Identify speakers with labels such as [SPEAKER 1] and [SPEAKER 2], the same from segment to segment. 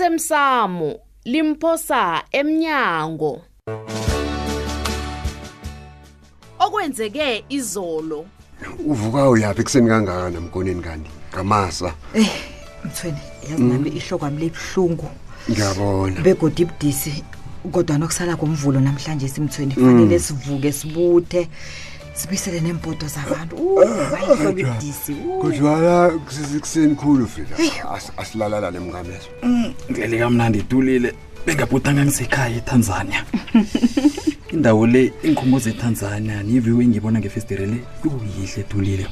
[SPEAKER 1] osemsamo limphosa emnyango okwenzeke izolo
[SPEAKER 2] uvuka uyaphi ekuseni kangaka namkoneni kanti ngamasa
[SPEAKER 3] eyi mthweni yazi nami ihlokwami libuhlungu
[SPEAKER 2] ngiyabona
[SPEAKER 3] begodi ibudisi kodwa nokusala komvulo namhlanje simthweni kufanele sivuke sibuthe sibuyisele neempoto zabantu bayihlobo ibudisi Uh,
[SPEAKER 2] kodwala kuseni khulu frida As- asilalala nemngamezo
[SPEAKER 4] ngele kamnandi itulile bengabhutanga ngisekhaya etanzania indawo e le e inkhumbuzo etanzania niyiviwe engiyibona ngefestire le kuyihle etulile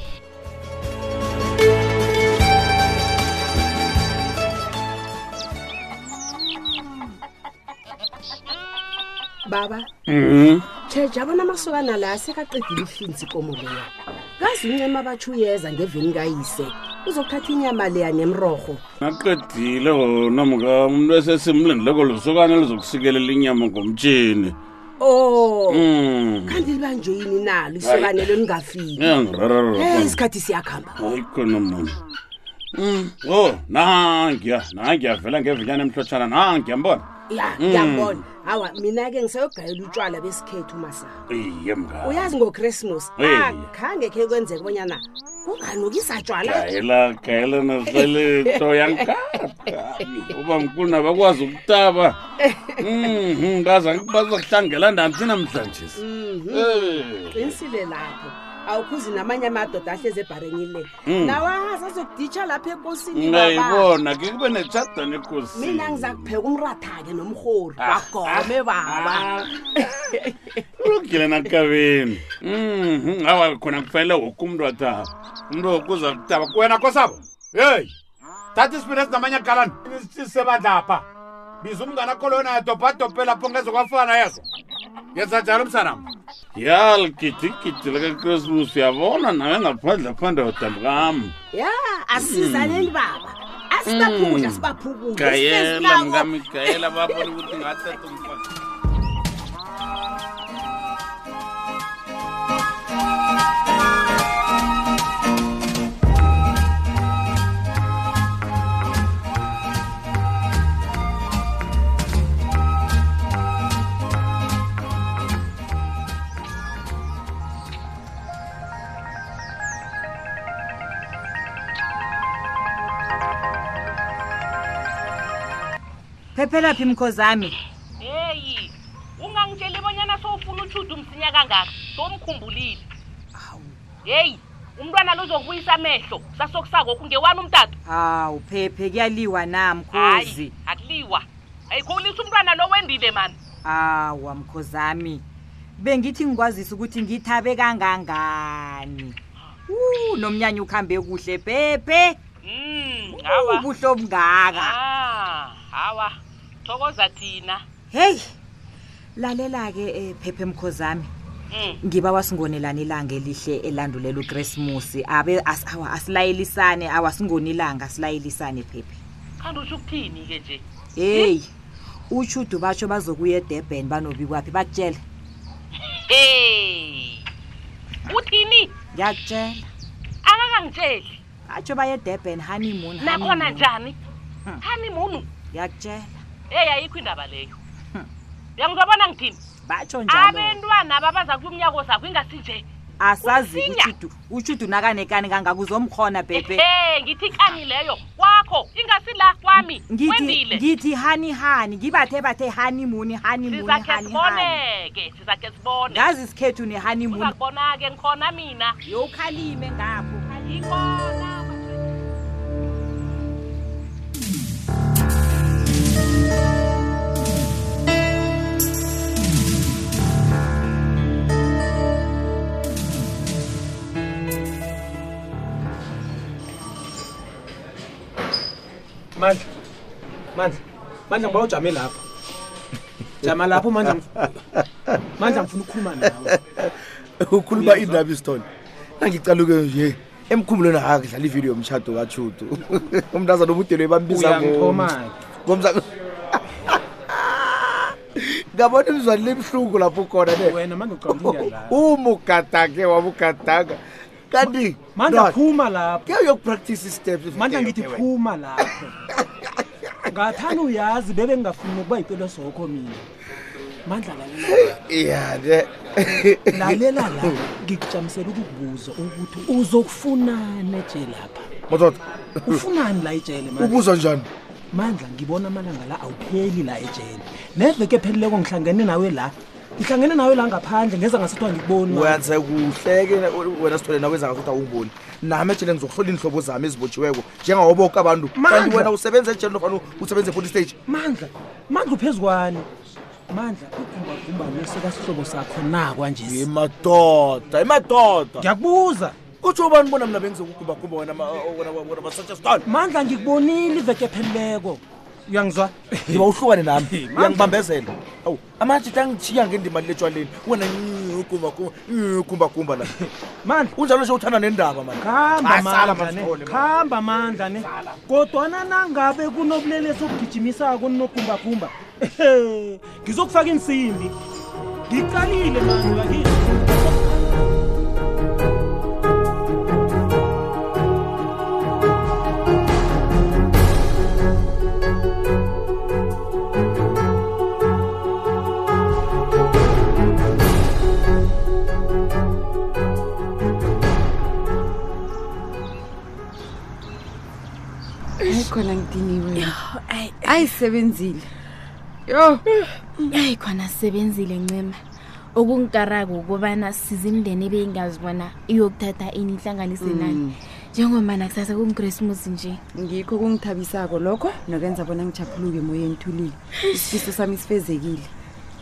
[SPEAKER 5] baba
[SPEAKER 6] Mhm. Mm-hmm.
[SPEAKER 5] tshetsha abona amasokana la asekaqedile ihlinzi ikomo leya kazi uncema abatsho uyeza ngeveni kayise uzokuthatha inyama leya nemrorho
[SPEAKER 7] naqedile wona mka umntu esesimlindileko lusukane lizokusikelela inyama ngomtshini
[SPEAKER 5] o
[SPEAKER 7] um
[SPEAKER 5] Oh, kanti libanje yini nalo isokanelo lingafiki
[SPEAKER 7] iyangirarara
[SPEAKER 5] eyi isikhathi siyakuhamba
[SPEAKER 7] hayi khona mani um o nangiya nangiya vela ngevinyana emhlotshana nangiya mbona
[SPEAKER 5] ya ngiyabona hawa mina-ke ngisayogayela utshwala besikhethu masana
[SPEAKER 7] iye mka
[SPEAKER 5] uyazi ngokrismos
[SPEAKER 7] Hey.
[SPEAKER 5] akhange khe kwenzeka obonyana kunganukisa tshwala
[SPEAKER 7] gayela gayela naseletho yankaka uba mkhulu nabakwazi ukutaba um bazakuhlangela ndansi namhlanje
[SPEAKER 5] Mhm. qinisile lapho awukhuzi namanye amadoda ahlezi ebharenyile nawazi azokuditsha lapha ekosini baba
[SPEAKER 7] ngayibona ke kube netshada nekosini
[SPEAKER 5] mina ngiza kupheka umratha-ke nomrhori bagome baba
[SPEAKER 7] ulungile nakabeni Mhm, awa khona kufanele woke umntu wataba umntu woke uza kutaba
[SPEAKER 8] wena kosabo heyi thatha isipini esinamanye agalani isisebadlapha biza umngana kolona yadobhadobhe lapho ngeze kwafana yezo yenza njalo msanam
[SPEAKER 7] ya ligidigidi likakrismus uyabona nawe ngaphandle phandle wadamukam
[SPEAKER 5] ya asizaleli baba asibaphukudla sibaphukudla
[SPEAKER 7] gayela
[SPEAKER 5] Isihlezi lawo.
[SPEAKER 7] mngamigayela babona ukuthi ngathatha umfazi
[SPEAKER 3] phephelaphi mkhozami
[SPEAKER 9] heyi ungangitsheli bonyana sowufuna utshuda umsinya kangaka somkhumbulile heyi umntwana luzokubuyisa amehlo sasokusakokho ngewani umtato
[SPEAKER 3] hawu phephe kuyaliwa na mkhozi
[SPEAKER 9] hayi akuliwa ayikhulisa umntwana lo wendile mani
[SPEAKER 3] awa mkhozami bengithi ngikwazisa ukuthi ngithabe kangangani u nomnyanya ukuhambe kuhle phephe
[SPEAKER 9] um hawa
[SPEAKER 3] ubuhle obungaka
[SPEAKER 9] Ah, hawa thokoza thina
[SPEAKER 3] heyi lalela-ke um phephe mkhozami
[SPEAKER 9] um
[SPEAKER 3] ngiba wasingonelana ilanga elihle elandulela ukrismusi abe as- awa asilayelisane awasingoni ilanga asilayelisane phephe
[SPEAKER 9] kanti usho ukuthini-ke nje
[SPEAKER 3] heyi utshudu batsho bazokuya edurban banobikwaphi bakutshele
[SPEAKER 9] hey uthini
[SPEAKER 3] ngiyakutshela
[SPEAKER 9] akakangitsheli
[SPEAKER 3] batsho baye edurban honeymoon
[SPEAKER 9] nakhona
[SPEAKER 3] honeymoon.
[SPEAKER 9] njani
[SPEAKER 3] Hmm.
[SPEAKER 9] hanimunu
[SPEAKER 3] ngiyakutshela
[SPEAKER 9] eyi ayikho indaba leyo
[SPEAKER 3] Hmm.
[SPEAKER 9] uyangizwabona ngithini
[SPEAKER 3] batsho njalo
[SPEAKER 9] abentwana babaza kumnyako zakho ingasinje
[SPEAKER 3] asazi
[SPEAKER 9] usinya.
[SPEAKER 3] utshudu utshudu nakanekani kangaka uzomkhona bhebhe
[SPEAKER 9] ehe ngithi kani leyo kwakho ingasi la kwami
[SPEAKER 3] ngithi
[SPEAKER 9] wendile
[SPEAKER 3] ngithi hani hani ngibathe bathe honeymoon honeymoon
[SPEAKER 9] sizakhe
[SPEAKER 3] honey honey
[SPEAKER 9] sibone-ke sizakhe sibone
[SPEAKER 3] ngazi isikhethu ne-honeymoon
[SPEAKER 9] uzakubona-ke ngikhona mina
[SPEAKER 3] yowukhalime ngapho
[SPEAKER 9] ayikhona
[SPEAKER 10] mandla mandla mandla ngiba ujame lapho jama lapho mandla ngi- mandla ngifuna ukukhuluma nawe
[SPEAKER 11] ukhuluma indaba isithole nangicaluke nje emkhumbulweni hake dlala ividiyo yomshado kachutu umntazana omudelo ebambisa
[SPEAKER 10] uyangiphoma-ke
[SPEAKER 11] ngomsa ngabona imizwane lebuhlungu lapho khona ne
[SPEAKER 10] wena mandla ucabangiyadlala
[SPEAKER 11] umugadake wabugadanga kanti
[SPEAKER 10] mandla phuma lapho
[SPEAKER 11] ke uyokupractise i-steps
[SPEAKER 10] mandla ngithi phuma lapho
[SPEAKER 11] ngathana uyazi bebengingafuni ukuba yipelo zokho mina mandla lalela
[SPEAKER 12] ya ne
[SPEAKER 11] lalela la ngikujamisela ukukubuza ukuthi uzokufunani eje lapha
[SPEAKER 12] madoda
[SPEAKER 11] ufunani la ejele Mandla?
[SPEAKER 12] ubuza njani
[SPEAKER 11] mandla ngibona amalanga la awupheli la ejele neveke ephelileko ngihlangene nawe la ngihlangene nawe la ngaphandle ngeza ngasethiwa ngikuboni Mandla.
[SPEAKER 12] wenze kuhleke wena sithole nakwenza ngathi uthi awungiboni nami ejele ngizokuhlola iinhlobo zami ezibotshiweko njengawo boke abantu kanti
[SPEAKER 11] Mandla!
[SPEAKER 12] wena usebenza ejele nofana usebenza epolice stage
[SPEAKER 11] mandla mandla uphezu kwani mandla ugumbagumba lwesekasihlobo sakho na kwanje
[SPEAKER 12] imadoda imadoda
[SPEAKER 11] ngiyakubuza
[SPEAKER 12] kutsho ubani bona mna bengizokugumbagumba wena ma- wena- wena masotsha stone
[SPEAKER 11] mandla ngikubonile iveke ephelileko uyangizwa
[SPEAKER 12] ndiba uhlukane nami
[SPEAKER 11] Mandla.
[SPEAKER 12] uyangibambezela awu amajita angitshiya ngendima letshwaleni wena nyi, gumbagumba nyi, gumbagumba la
[SPEAKER 11] mandla
[SPEAKER 12] unjalo nje uthanda nendaba mani
[SPEAKER 11] khamba
[SPEAKER 12] Hayi, sala,
[SPEAKER 11] mandla ne
[SPEAKER 12] masithole, man.
[SPEAKER 11] khamba mandla ne kodwana nangabe kunobulelesi obugijimisako ninogumbagumba ehe, ngizokufaka insimbi ngiqalile mandla ngizwa
[SPEAKER 13] hayi khona ngidiniwe ayisebenzile yo
[SPEAKER 6] yayi khona sisebenzile ncema okungikarako ukubana sizimndeni ebeyingazibona iyokuthatha ini ihlanganise nani
[SPEAKER 13] Mm.
[SPEAKER 6] njengomana kusasa kungikrismus nje
[SPEAKER 13] ngikho kungithabisako lokho nokwenza bona ngijaphuluke emoyeni thulile isifiso sami sifezekile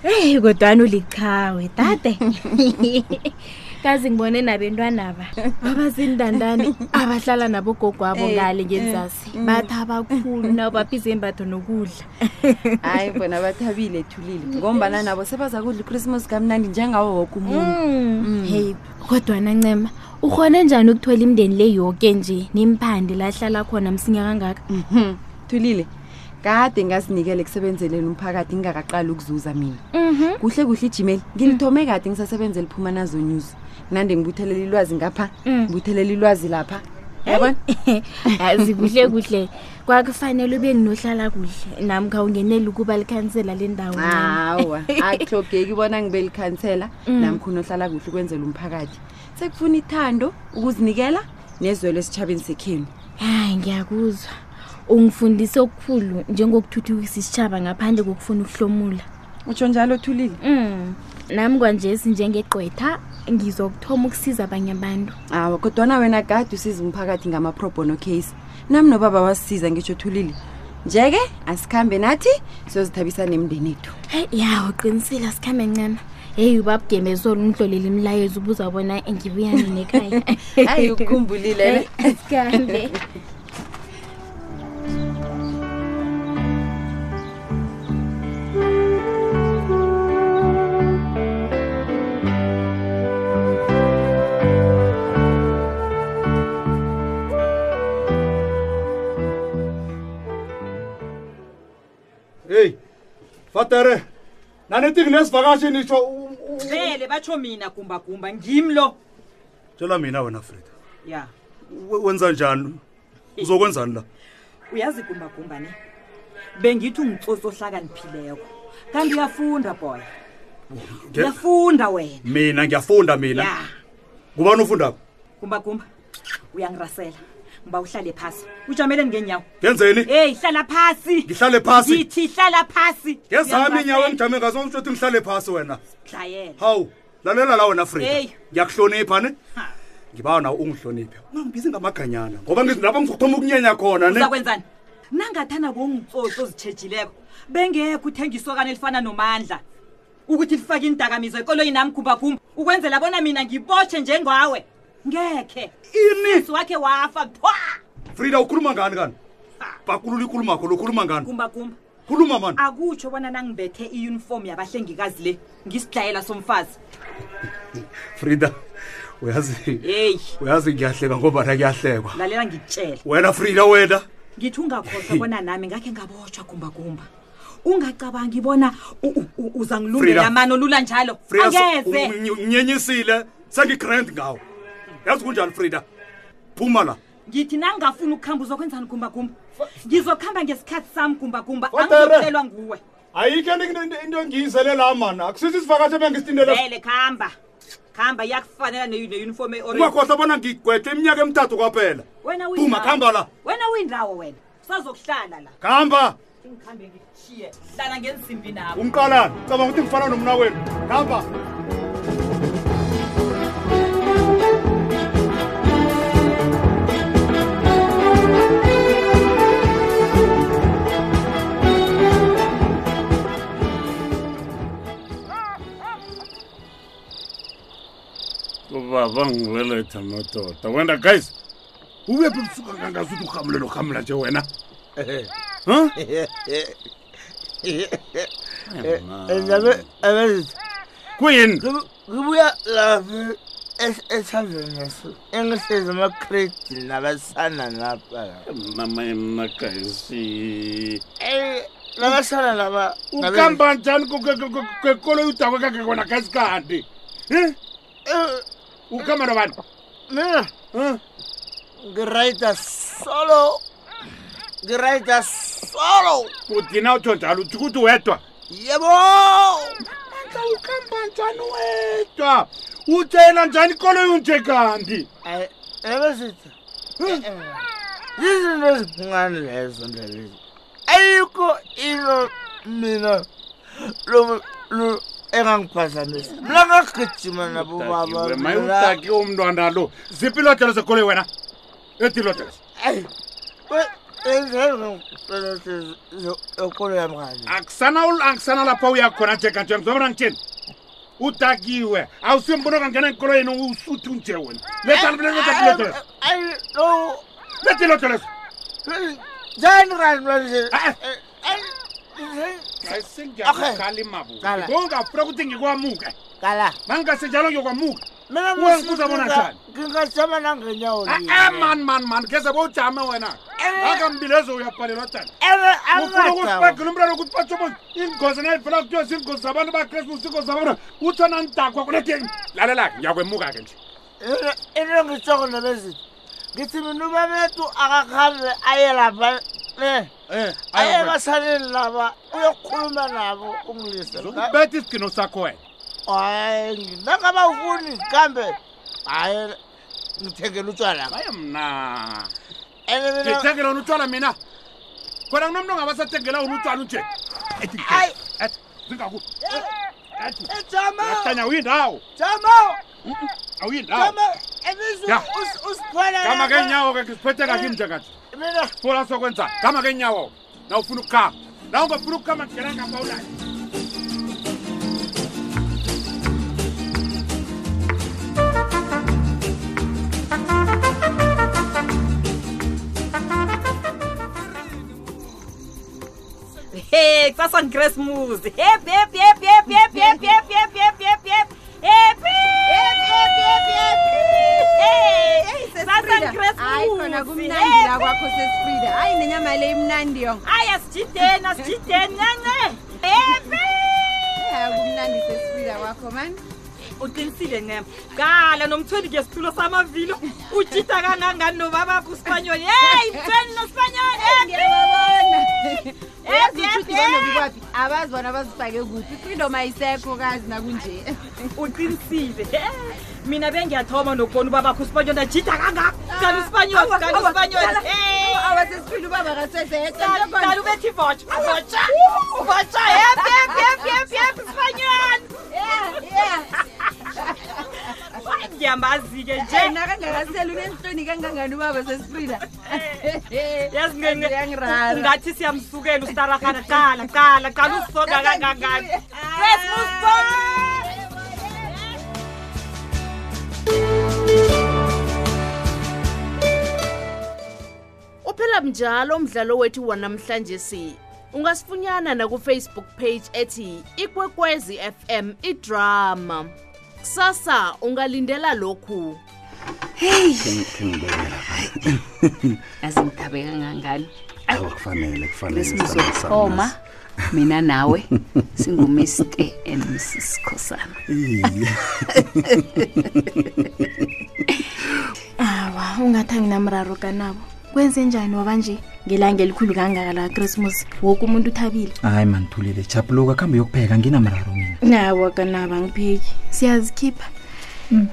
[SPEAKER 6] heyi kodwani ulichawe tate kazi ngibone nabentwanaba abazindandane abahlala nabogogwabo
[SPEAKER 13] Eh,
[SPEAKER 6] ngale
[SPEAKER 13] eh,
[SPEAKER 6] ngenzasi
[SPEAKER 13] mm.
[SPEAKER 6] bathaba khulu nabo baphiza embatho nokudla
[SPEAKER 13] hayi bona bathabile thulile ngombana nabo sebaza kudla uchristmas kamnandi njengawo woke
[SPEAKER 6] Mm. heyi kodwana ncema ukhone njani ukuthola imndeni le yoke nje nimphande lahlala khona msinya kangaka
[SPEAKER 13] Mm. Mhm. thulile kade ngazinikele kusebenzeleni umphakathi ngingakaqali ukuzuza mina kuhle kuhle ijimeli ngilithome kade ngisasebenza liphuma nazo news nande ngibuthelela ilwazi ngapha ngibuthelela ilwazi lapha yabona
[SPEAKER 6] yazi kuhle kuhle kwakufanele ube nginohlala kuhle namkha ungenele ukuba likhansela le ndawo Ncema.
[SPEAKER 13] awa akuhlogeki bona ngibe likhansela
[SPEAKER 6] Mm.
[SPEAKER 13] namkhuna ohlala kuhle ukwenzela umphakathi sekufuna ithando ukuzinikela nezwelo esitshabeni sekhenu
[SPEAKER 6] hayi ngiyakuzwa ungifundise okukhulu njengokuthuthukisa isitshaba ngaphandle kokufuna ukuhlomula
[SPEAKER 13] utsho njalo othulile
[SPEAKER 6] um nami kwanjesi njengegqwetha ngizokuthoma ukusiza abanye abantu
[SPEAKER 13] awa kodwana wena gade usiza umphakathi ngama-probono case nami nobaba wasisiza ngitsho thulile nje-ke asikhambe nathi siyozithabisa nemndeni ethu
[SPEAKER 6] heyi yaw uqinisile sikhambe ncema heyi ubabugemezolo ungihlolele imlayezo ubuzabona ngibuya nini ekhaya
[SPEAKER 13] Hayi, ukukhumbulile eh? le.
[SPEAKER 6] Hey, sikhambe
[SPEAKER 14] heyi fatere nanithi nginesivakashi nitsho
[SPEAKER 3] vele batsho mina gumbagumba ngimlo
[SPEAKER 15] tshela mina wena frida
[SPEAKER 3] ya
[SPEAKER 15] we- wenza njani uzokwenzani la
[SPEAKER 3] uyazi gumbagumba ne bengithi ungitsotsi ohlakaniphileko kanti uyafunda boya
[SPEAKER 15] Nge-
[SPEAKER 3] uyafunda wena
[SPEAKER 15] mina ngiyafunda mina
[SPEAKER 3] ya
[SPEAKER 15] ngubani ufundako
[SPEAKER 3] gumbagumba uyangirasela ngiba uhlale phasi ujameleni ngeenyawo
[SPEAKER 15] ngenzeni
[SPEAKER 3] eyi hlala phasi
[SPEAKER 15] ngihlale phasi?
[SPEAKER 3] ngithi hlala phasi
[SPEAKER 15] ngezami
[SPEAKER 3] Uyangirasela.
[SPEAKER 15] inyawo engijame ngazo ngisho ukuthi ngihlale phasi wena
[SPEAKER 3] dlayela
[SPEAKER 15] hawu lalela la wena frida
[SPEAKER 3] Hey.
[SPEAKER 15] ngiyakuhlonipha ne ngibawa nawo ungihloniphe ungangibizi ngamaganyana ngoba ngiz- lapho ngizothoma ukunyenya khona ne
[SPEAKER 3] uzakwenzani nangathana bongitsotsi ozitshejileko bengekho uthengisokane elifana nomandla ukuthi lifake indakamizwa ekoloyi nami gumbagumba ukwenzela bona mina ngibotshe njengawe ngekhe inisi wakhe wafa thwa
[SPEAKER 15] frida ukhuluma ngani kani bakulula ikulumo akho lokhuluma ngani
[SPEAKER 3] gumbagumba
[SPEAKER 15] khuluma mani
[SPEAKER 3] akutsho bona nangibethe iyunifomu yabahlengikazi le ngisidlayela somfazi
[SPEAKER 15] frida uyazi
[SPEAKER 3] heyi
[SPEAKER 15] uyazi ngiyahleka ngobana ngiyahlekwa
[SPEAKER 3] lalela ngitshela
[SPEAKER 15] wena frida wena
[SPEAKER 3] ngithi ungakhohlwa bona nami ngakhe ngabotshwa gumbagumba ungacabangi bona u- u- u- uzangilungela
[SPEAKER 15] Frida.
[SPEAKER 3] mani olula njalo
[SPEAKER 15] Frida, so-
[SPEAKER 3] angeze
[SPEAKER 15] unginyenyisile sengigrand ngawo yazi kunjani frida phuma la
[SPEAKER 3] ngithi nangingafuni ukukhamba uzokwenzani gumbagumba ngizokuhamba ngesikhathi sami gumbagumba
[SPEAKER 15] Fatere.
[SPEAKER 3] angizokutelwa nguwe
[SPEAKER 15] ayikho into- into into- into engiyizelelela mana akusithi isivakashe bengisitindele
[SPEAKER 3] vele kuhamba kuhamba iyakufanela ne- neuniform e-orange
[SPEAKER 15] ungakhohlwa bona ngigwethe iminyaka emithathu kwaphela
[SPEAKER 3] wena
[SPEAKER 15] Phuma, khamba la.
[SPEAKER 3] wena uyindawo wena sazokuhlala la
[SPEAKER 15] khamba
[SPEAKER 3] ngikhambe ngikuchiye hlala ngensimbi nabo
[SPEAKER 15] umqalani cabanga ukuthi ngifana nomna wenu khamba
[SPEAKER 7] ubaba ngibeletha madoda wena guys ubephi busuka kangasuthi uhamule nohamula nje wena Huh?
[SPEAKER 8] kuyini ngibuya lapha eshaveni engihlezi amakredi nabasana lapha
[SPEAKER 7] mama emna guys
[SPEAKER 8] nabasana laba
[SPEAKER 7] ukamba njani kwekoloyi udakwe kake wena guys kanti Eh? ukhamba nobani
[SPEAKER 8] mina ngirayida solo ngirayida solo
[SPEAKER 7] udina utsho njalo uthi kuthi wedwa
[SPEAKER 8] yebo
[SPEAKER 7] mandla ukhamba njani wedwa utshela njani ikoloyi unje kanti
[SPEAKER 8] Eh,
[SPEAKER 7] Hmm.
[SPEAKER 8] ebesithi zizinto Eh, ezincane lezo ndlalezo ayikho into mina lo- lo- engangiphazamisa mna ngagijima nabo baba
[SPEAKER 7] maye utaki umntwana lo ziphi ilodelo zekoloyi wena ethi ilodelo
[SPEAKER 8] ekolo yami kanje
[SPEAKER 7] akusana ul- akusana lapha uyakhona nje kanje ngizobona ngitheni utakiwe awusimbono kangena enkoloyeni usuthi unje wena letaleso lethi ilodelo leso
[SPEAKER 8] njani kanti manje
[SPEAKER 7] ungafuna ukuthi ngikwamuke
[SPEAKER 8] kala
[SPEAKER 7] nangingasenjalo ngiyokwamuka
[SPEAKER 8] mina
[SPEAKER 7] uyangibuza bona
[SPEAKER 8] nginga-
[SPEAKER 7] njani
[SPEAKER 8] ngingajama nangenyawo
[SPEAKER 7] Ah, ah, man man man ngeze bowujame wena
[SPEAKER 8] Eh.
[SPEAKER 7] akambilezo uyabhalelwa tani ufuna ukusibagela umntwana ukuthi batshobo ingozi nayivela kuthiwa zingozi zabantu bakrismus ingozi zabantu utshona ndakwa kuneteni lalela-ke ngiyakwemuka ke nje
[SPEAKER 8] into engitshoko nebezithi ngithi mina umamethu akakhambe aye lapha ne
[SPEAKER 7] Eh,
[SPEAKER 8] aye
[SPEAKER 7] ayokwena.
[SPEAKER 8] ebasaneni laba uyokukhuluma nabo umlisa
[SPEAKER 7] ubetha isigino sakho wena
[SPEAKER 8] hayi nangaba ufuni kambe hayi ngithengela utshwala
[SPEAKER 7] hayi mna
[SPEAKER 8] ene mina
[SPEAKER 7] ngithengela wona utshwala mina khona kunomntu ongabasathengela wona utshwala unje ethi zingaku
[SPEAKER 8] jama
[SPEAKER 7] atanya uyindawo
[SPEAKER 8] jama
[SPEAKER 7] awuyindawo
[SPEAKER 8] jama ebizu
[SPEAKER 7] Ya.
[SPEAKER 8] usiphola
[SPEAKER 7] gama ngeenyawo ke ngisiphethe kakini njenganje
[SPEAKER 8] mina
[SPEAKER 7] fola sokwenza gama ngeenyawo na ufuna ukukhamba na ungafuna ukukhamba ngena ngapha ulayo
[SPEAKER 3] he kusasa ngichristmas hep hep hep hep hep hep hep hep hep hep hep Happy! Hey, sasa
[SPEAKER 16] khona
[SPEAKER 3] ngichristmas
[SPEAKER 16] kumnandi la kwakho sesifrida hayi nenyama le imnandi yonga
[SPEAKER 3] hayi asijideni asijideni nene Happy!
[SPEAKER 16] kumnandi sesifrida kwakho mani
[SPEAKER 3] uqinisile ncema kala nomthweni ngesitulo samavilo ujida kangangani nobabakho uspanyoli heyi mthweni nospanyoli
[SPEAKER 16] ngiyababona yazi
[SPEAKER 3] Yep,
[SPEAKER 16] utshuthi
[SPEAKER 3] yep, yep.
[SPEAKER 16] banobikwaphi abazi bona bazifake kuphi ifreedom ayisekho kazi nakunje
[SPEAKER 3] uqinisile mina bengiyathoma nokubona ubabakho uspanyoli ajida kangako kani uspanyoli
[SPEAKER 16] Awa,
[SPEAKER 3] kani
[SPEAKER 16] awa,
[SPEAKER 3] uspanyoli
[SPEAKER 16] kala, awa, sesifile ubaba kaseseka
[SPEAKER 3] kani ubethi votsha votsha votsha yep yep yep yep yep uspanyoli ngiyambazi-ke nje
[SPEAKER 16] nje nakangakaseli unenhloni kangangani ubaba sesifrida
[SPEAKER 3] ungathi siyamsukela ustarahana qala qala qala usisonga kangangani
[SPEAKER 1] uphela mnjalo umdlalo wethu wanamhlanje si ungasifunyana nakufacebook page ethi ikwekwezi fm idrama kusasa ungalindela lokhu
[SPEAKER 17] azimthabe kangangani
[SPEAKER 18] awakufanele
[SPEAKER 17] besimizothoma mina nawe singumiste and mrs khosana
[SPEAKER 18] kufanele
[SPEAKER 17] awa
[SPEAKER 6] awa ungathi anginamraro kanabo kwenze njani waba nje ngelanga elikhulu kangaka la krismus woke umuntu uthabile
[SPEAKER 4] hayi manithulile jabuluka kuhambe yokupheka nginamraro mina
[SPEAKER 6] nawo kanabo angipheki siyazikhipha mm.